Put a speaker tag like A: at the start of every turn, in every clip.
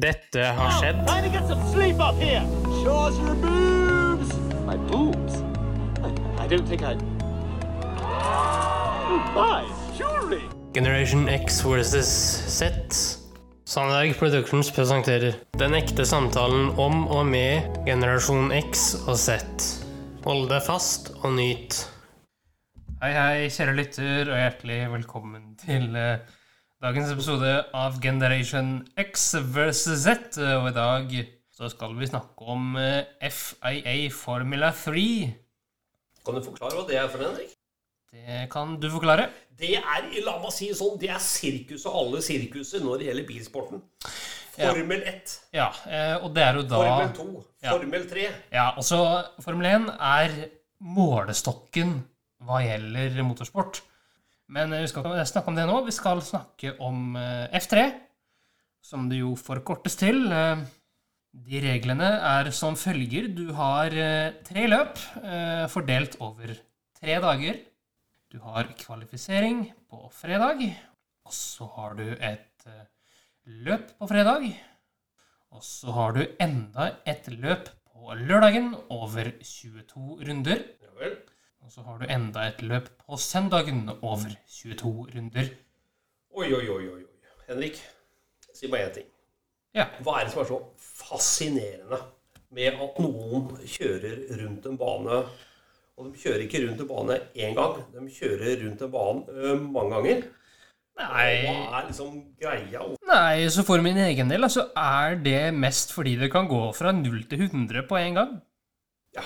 A: Dette har skjedd.
B: Time to get some sleep up here. Show us your boobs. My boobs? I, I don't think I. Eyes, Oh, surely.
A: Generation X versus Z. Sandberg Productions presenterer Den ekte samtalen om og med generasjon X og Z. Hold deg fast og nyt. Hei, hei, kjære lytter, og hjertelig velkommen til eh, dagens episode av Generation X versus Z. Eh, Og i dag så skal vi snakke om eh, FIA Formula 3.
C: Kan du forklare hva det er for en, Henrik?
A: Det kan du forklare.
C: Det er la meg si det sånn, det er sirkus og alle sirkuser når det gjelder bilsporten. Formel 1,
A: Ja, eh, og det er jo da
C: Formel 2,
A: Ja.
C: Formel 3.
A: Ja, altså Formel 1 er målestokken hva gjelder motorsport. Men eh, vi skal ikke snakke om det nå. Vi skal snakke om eh, F3, som det jo forkortes til. Eh, De reglene er som følger. Du har eh, tre løp eh, fordelt over tre dager. Du har kvalifisering på fredag, og så har du et eh, løp på fredag. Og så har du enda et løp på lørdagen over 22 runder.
C: Ja vel.
A: Og så har du enda et løp på søndagen over 22 runder.
C: Oi, oi, oi, oi. oi. Henrik, si meg én ting.
A: Ja.
C: Hva er det som er så fascinerende med at noen kjører rundt en bane Og de kjører ikke rundt en bane én gang, de kjører rundt en bane ø, mange ganger.
A: Nei,
C: Hva er liksom greia?
A: nei, så for min egen del altså, er det mest fordi det kan gå fra 0 til 100 på en gang.
C: Ja.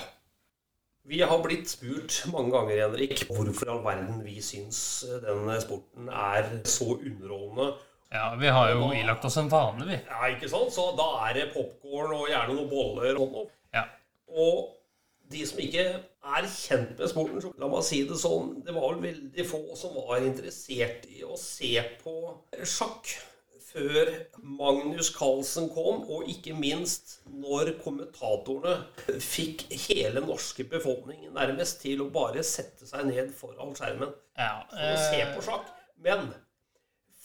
C: Vi har blitt spurt mange ganger, Henrik, hvorfor i all verden vi syns denne sporten er så underholdende.
A: Ja, vi har jo ilagt oss en vane, vi.
C: Ja, ikke sant? Så da er det popkorn og gjerne noen boller og sånn. noe.
A: Ja.
C: Og de som ikke er kjent med sporten, så la meg si det sånn, det var vel veldig få som var interessert i å se på sjakk før Magnus Carlsen kom, og ikke minst når kommentatorene fikk hele norske befolkningen nærmest til å bare sette seg ned foran skjermen
A: ja
C: for å se
A: eh,
C: på sjakk. Men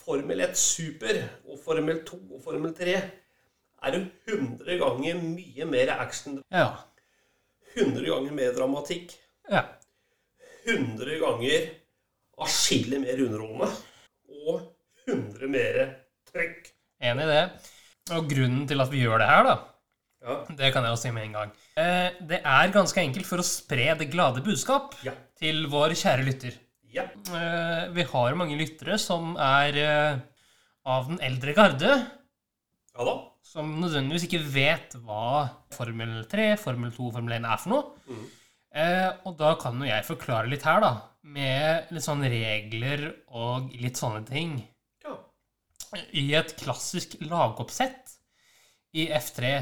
C: Formel 1 Super og Formel 2 og Formel 3 er jo 100 ganger mye mer action,
A: ja.
C: 100 ganger mer dramatikk,
A: ja.
C: 100 ganger atskillig mer underholdende og 100 mer trøkk.
A: Enig i det. Og grunnen til at vi gjør det her, da,
C: Ja.
A: Det kan jeg jo si med en gang. Eh, det er ganske enkelt for å spre det glade budskap
C: Ja.
A: til vår kjære lytter.
C: ja.
A: Eh, vi har mange lyttere som er eh, av den eldre garde,
C: Ja da.
A: som nødvendigvis ikke vet hva Formel 3, Formel 2 og Formel 1 er for noe. Eh, og da kan jo jeg forklare litt her, da, med litt sånn regler og litt sånne ting.
C: Ja.
A: I et klassisk lagoppsett i F3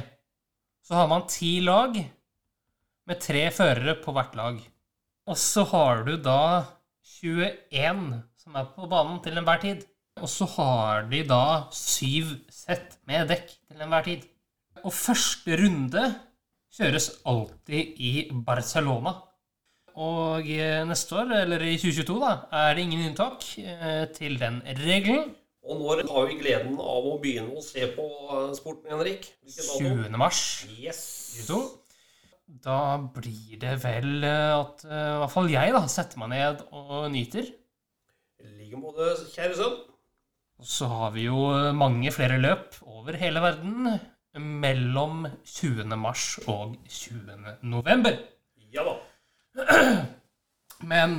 A: så har man ti lag med tre førere på hvert lag. Og så har du da 21 som er på banen til enhver tid. Og så har de da syv sett med dekk til enhver tid. Og første runde kjøres alltid i Barcelona. Og eh, neste år, eller i 2022, da, er det ingen unntak eh, til den regelen.
C: Og når har vi gleden av å begynne å se på eh, sporten, Henrik? Hvilken dato?
A: 20. mars
C: Yes.
A: 22. Da blir det vel eh, at eh, i hvert fall jeg da, setter meg ned og nyter.
C: I like måte, kjære sønn.
A: Og så har vi jo eh, mange flere løp over hele verden mellom 20. mars og 20. november.
C: Ja da.
A: Men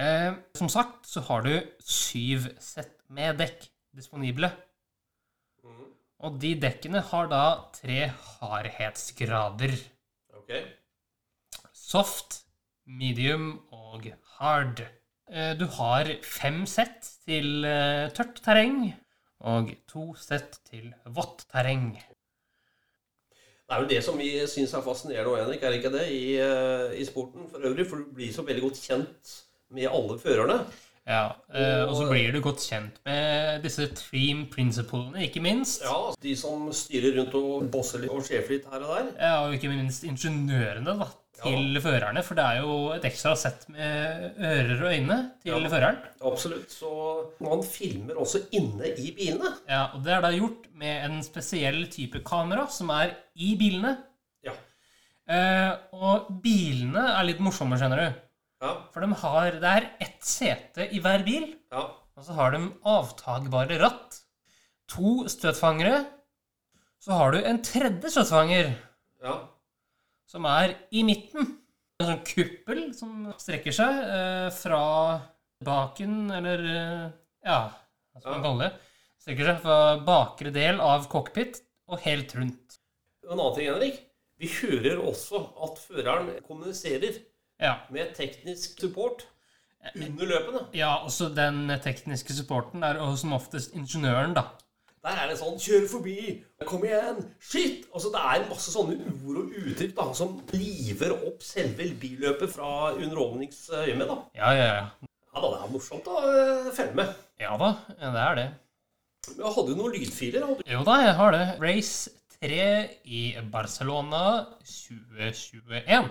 A: eh, som sagt så har du syv sett med dekk disponible. Og de dekkene har da tre hardhetsgrader.
C: Ok.
A: soft, medium og hard. Eh, Du har fem sett til eh, tørt terreng og to sett til vått terreng.
C: Det er vel det som vi syns er fascinerende og Henrik, er det ikke det, i, eh, i sporten for øvrig? For du blir så veldig godt kjent med alle førerne.
A: Ja, eh, Og så blir du godt kjent med disse team principlene, ikke minst.
C: Ja, altså, De som styrer rundt og bosser litt og sjefer litt her og der.
A: Ja, og ikke minst ingeniørene, da. til førerne, for det er jo et ekstra sett med ører og øyne til
C: Ja.
A: føreren.
C: Absolutt. Så man filmer også inne i bilene.
A: Ja, og Det er da gjort med en spesiell type kamera som er i bilene.
C: Ja.
A: Eh, og bilene er litt morsomme, skjønner du.
C: Ja.
A: For de har, det er ett sete i hver bil,
C: ja.
A: og så har de avtagbare ratt. To støtfangere. Så har du en tredje støtfanger,
C: ja.
A: som er i midten. En sånn kuppel som strekker seg eh, fra baken, eller eh, ja, hva skal man
C: Ja.
A: kalle det? Strekker seg fra bakre del av cockpit og helt rundt.
C: En annen ting, Henrik. Vi hører også at føreren kommuniserer
A: Ja.
C: med teknisk support under løpene.
A: ja, også den tekniske supporten er jo som oftest ingeniøren, da.
C: Der er det sånn 'kjør forbi', 'kom igjen', 'shit'. Altså, det er masse sånne ord og uttrykk da, som liver opp selve billøpet fra underholdningsøyemed. da.
A: Ja, ja, ja.
C: Ja da, det er morsomt å eh, følge med.
A: Ja da, ja, det er det.
C: Men jeg hadde jo noen lydfiler. Hadde.
A: Jo da, jeg har det. Race 3 i Barcelona 2021.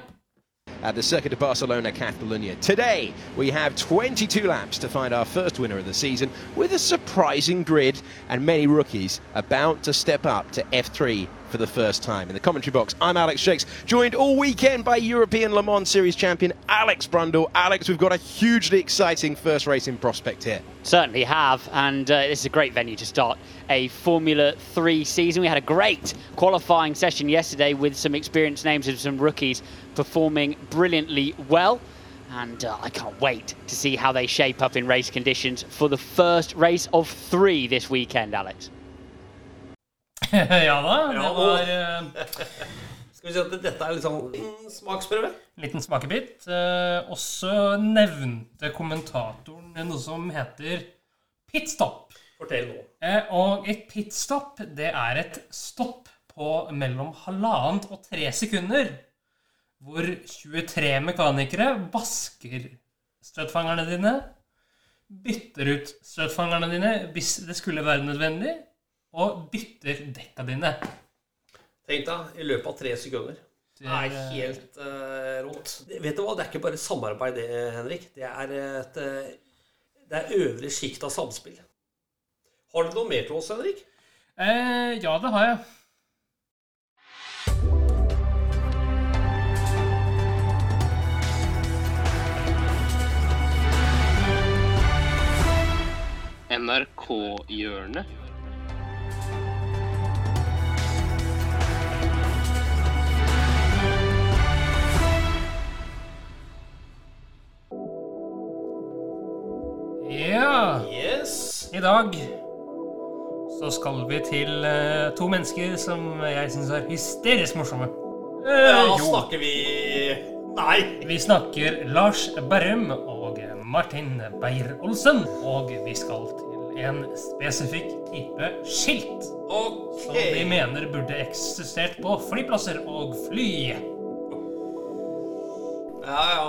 D: at the Circuit of Barcelona, Catalonia. Today, we have 22 laps to find our first winner of the season with a surprising grid and many rookies about to step up to F3 for the first time. In the commentary box, I'm Alex Shakes, joined all weekend by European Le Mans Series champion Alex Brundle. Alex, we've got a hugely exciting first race in prospect here.
E: Certainly have, and uh, this is a great venue to start a Formula 3 season. We had a great qualifying session yesterday with some experienced names and some rookies performing brilliantly well. And uh, I can't wait to see how they shape up in race conditions for the first race of three this weekend, Alex.
A: ja da, det
C: Ja da.
A: var eh,
C: Skal vi si at dette er litt sånn en smaksprøve?
A: en liten smakebit. Eh, også nevnte kommentatoren noe som heter pitstop.
C: Fortell nå.
A: Eh, og et pitstop, det er et stopp på mellom halvannet og tre sekunder, hvor 23 mekanikere vasker støtfangerne dine, bytter ut støtfangerne dine hvis det skulle være nødvendig, og bytter dekka dine.
C: Tenk deg, i løpet av tre sekunder. Det er
A: eh,
C: helt eh, rått. Det- Vet du hva, det er ikke bare samarbeid, det, Henrik. Det er et eh, Det er øvre sjikt av samspill. Har du noe mer til oss, Henrik?
A: Eh, ja, det har jeg.
F: NRK-hjørnet.
A: Ja!
C: Yes.
A: I dag så skal vi til eh, to mennesker som jeg syns er hysterisk morsomme. Eh,
C: Da
A: jo,
C: snakker vi Nei!
A: vi snakker Lars Berrum og Martin Beyer-Olsen. Og vi skal til en spesifikk type skilt
C: Sånn
A: som de
C: Ok.
A: mener burde eksistert på flyplasser og fly.
C: Ja, ja.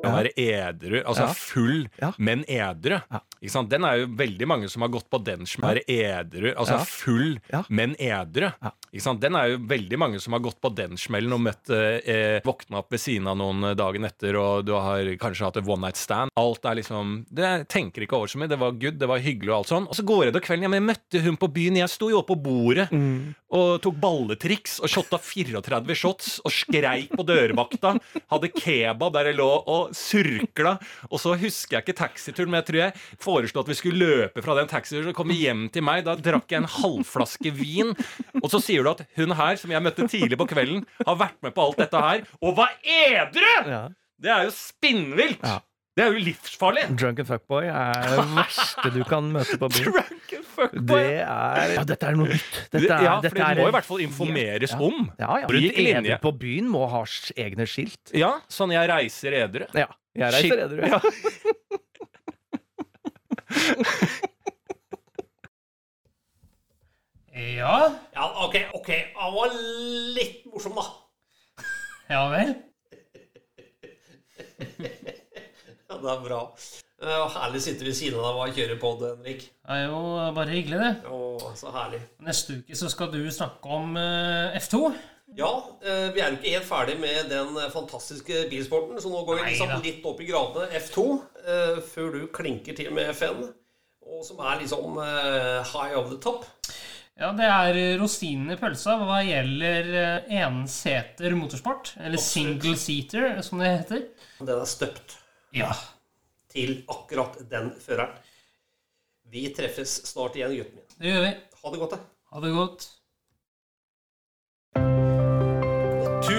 G: Den der edru, altså
H: Ja.
G: full,
H: Ja.
G: men edru. Ikke sant? Den er jo veldig mange som har gått på den som er edru, altså
H: Ja.
G: full,
H: Ja.
G: men edru. Ikke sant? Den er jo veldig mange som har gått på den smellen og møtt eh, eh, våkna opp ved siden av noen eh, dagen etter, og du har kanskje hatt et one night stand. Alt er liksom Det tenker ikke over så mye. Det var good, det var hyggelig og alt sånn. Og så går det til kvelden. Ja, men jeg møtte hun på byen. Jeg sto jo oppe på bordet
H: Mm.
G: og tok balletriks og shotta 34 shots og skreik på dørvakta. Hadde kebab der jeg lå og surkla. Og så husker jeg ikke taxituren, men jeg tror jeg foreslo at vi skulle løpe fra den taxituren og komme hjem til meg. Da drakk jeg en halvflaske vin. Og så sier du at hun her, som jeg møtte tidlig på kvelden, har vært med på alt dette her og var edru!
H: Ja.
G: Det er jo spinnvilt!
H: Ja. Mm.
G: Det er jo livsfarlig!
H: Drunken fuckboy er det verste du kan møte på byen.
G: Drunken fuckboy!
H: Det er Ja, dette er noe nytt. Dette er,
G: ja,
H: dette
G: for det
H: er
G: må
H: en-
G: i hvert fall informeres
H: Ja.
G: om.
H: Ja, ja.
G: Bryt
H: De edru
G: linje.
H: på byen må ha s- egne skilt.
G: Ja, sånn jeg reiser edru.
H: Ja. Jeg
G: Skilt.
H: reiser edru. Ja.
A: Ja,
C: ja ok, ok. Han var litt morsom, da.
A: ja vel.
C: Ja, det er bra. Eh, herlig sitter ved siden av deg og kjører pod, Henrik.
A: Det er jo bare hyggelig, det.
C: Å, så herlig.
A: Neste uke så skal du snakke om eh, F2.
C: Ja, eh, vi er jo ikke helt ferdig med den eh, fantastiske bilsporten, så nå går vi
A: Nei
C: liksom
A: da.
C: litt opp i gradene F2, eh, før du klinker til med FN, og som er liksom eh, high of the top.
A: Ja, det er eh, rosinen i pølsa hva gjelder eh, enseter motorsport. Eller single seater, som det heter.
C: Den er støpt
A: Ja.
C: til akkurat den føreren. Vi treffes snart igjen, gutten min.
A: Det gjør vi.
C: Ha det godt, da.
A: Ha det godt.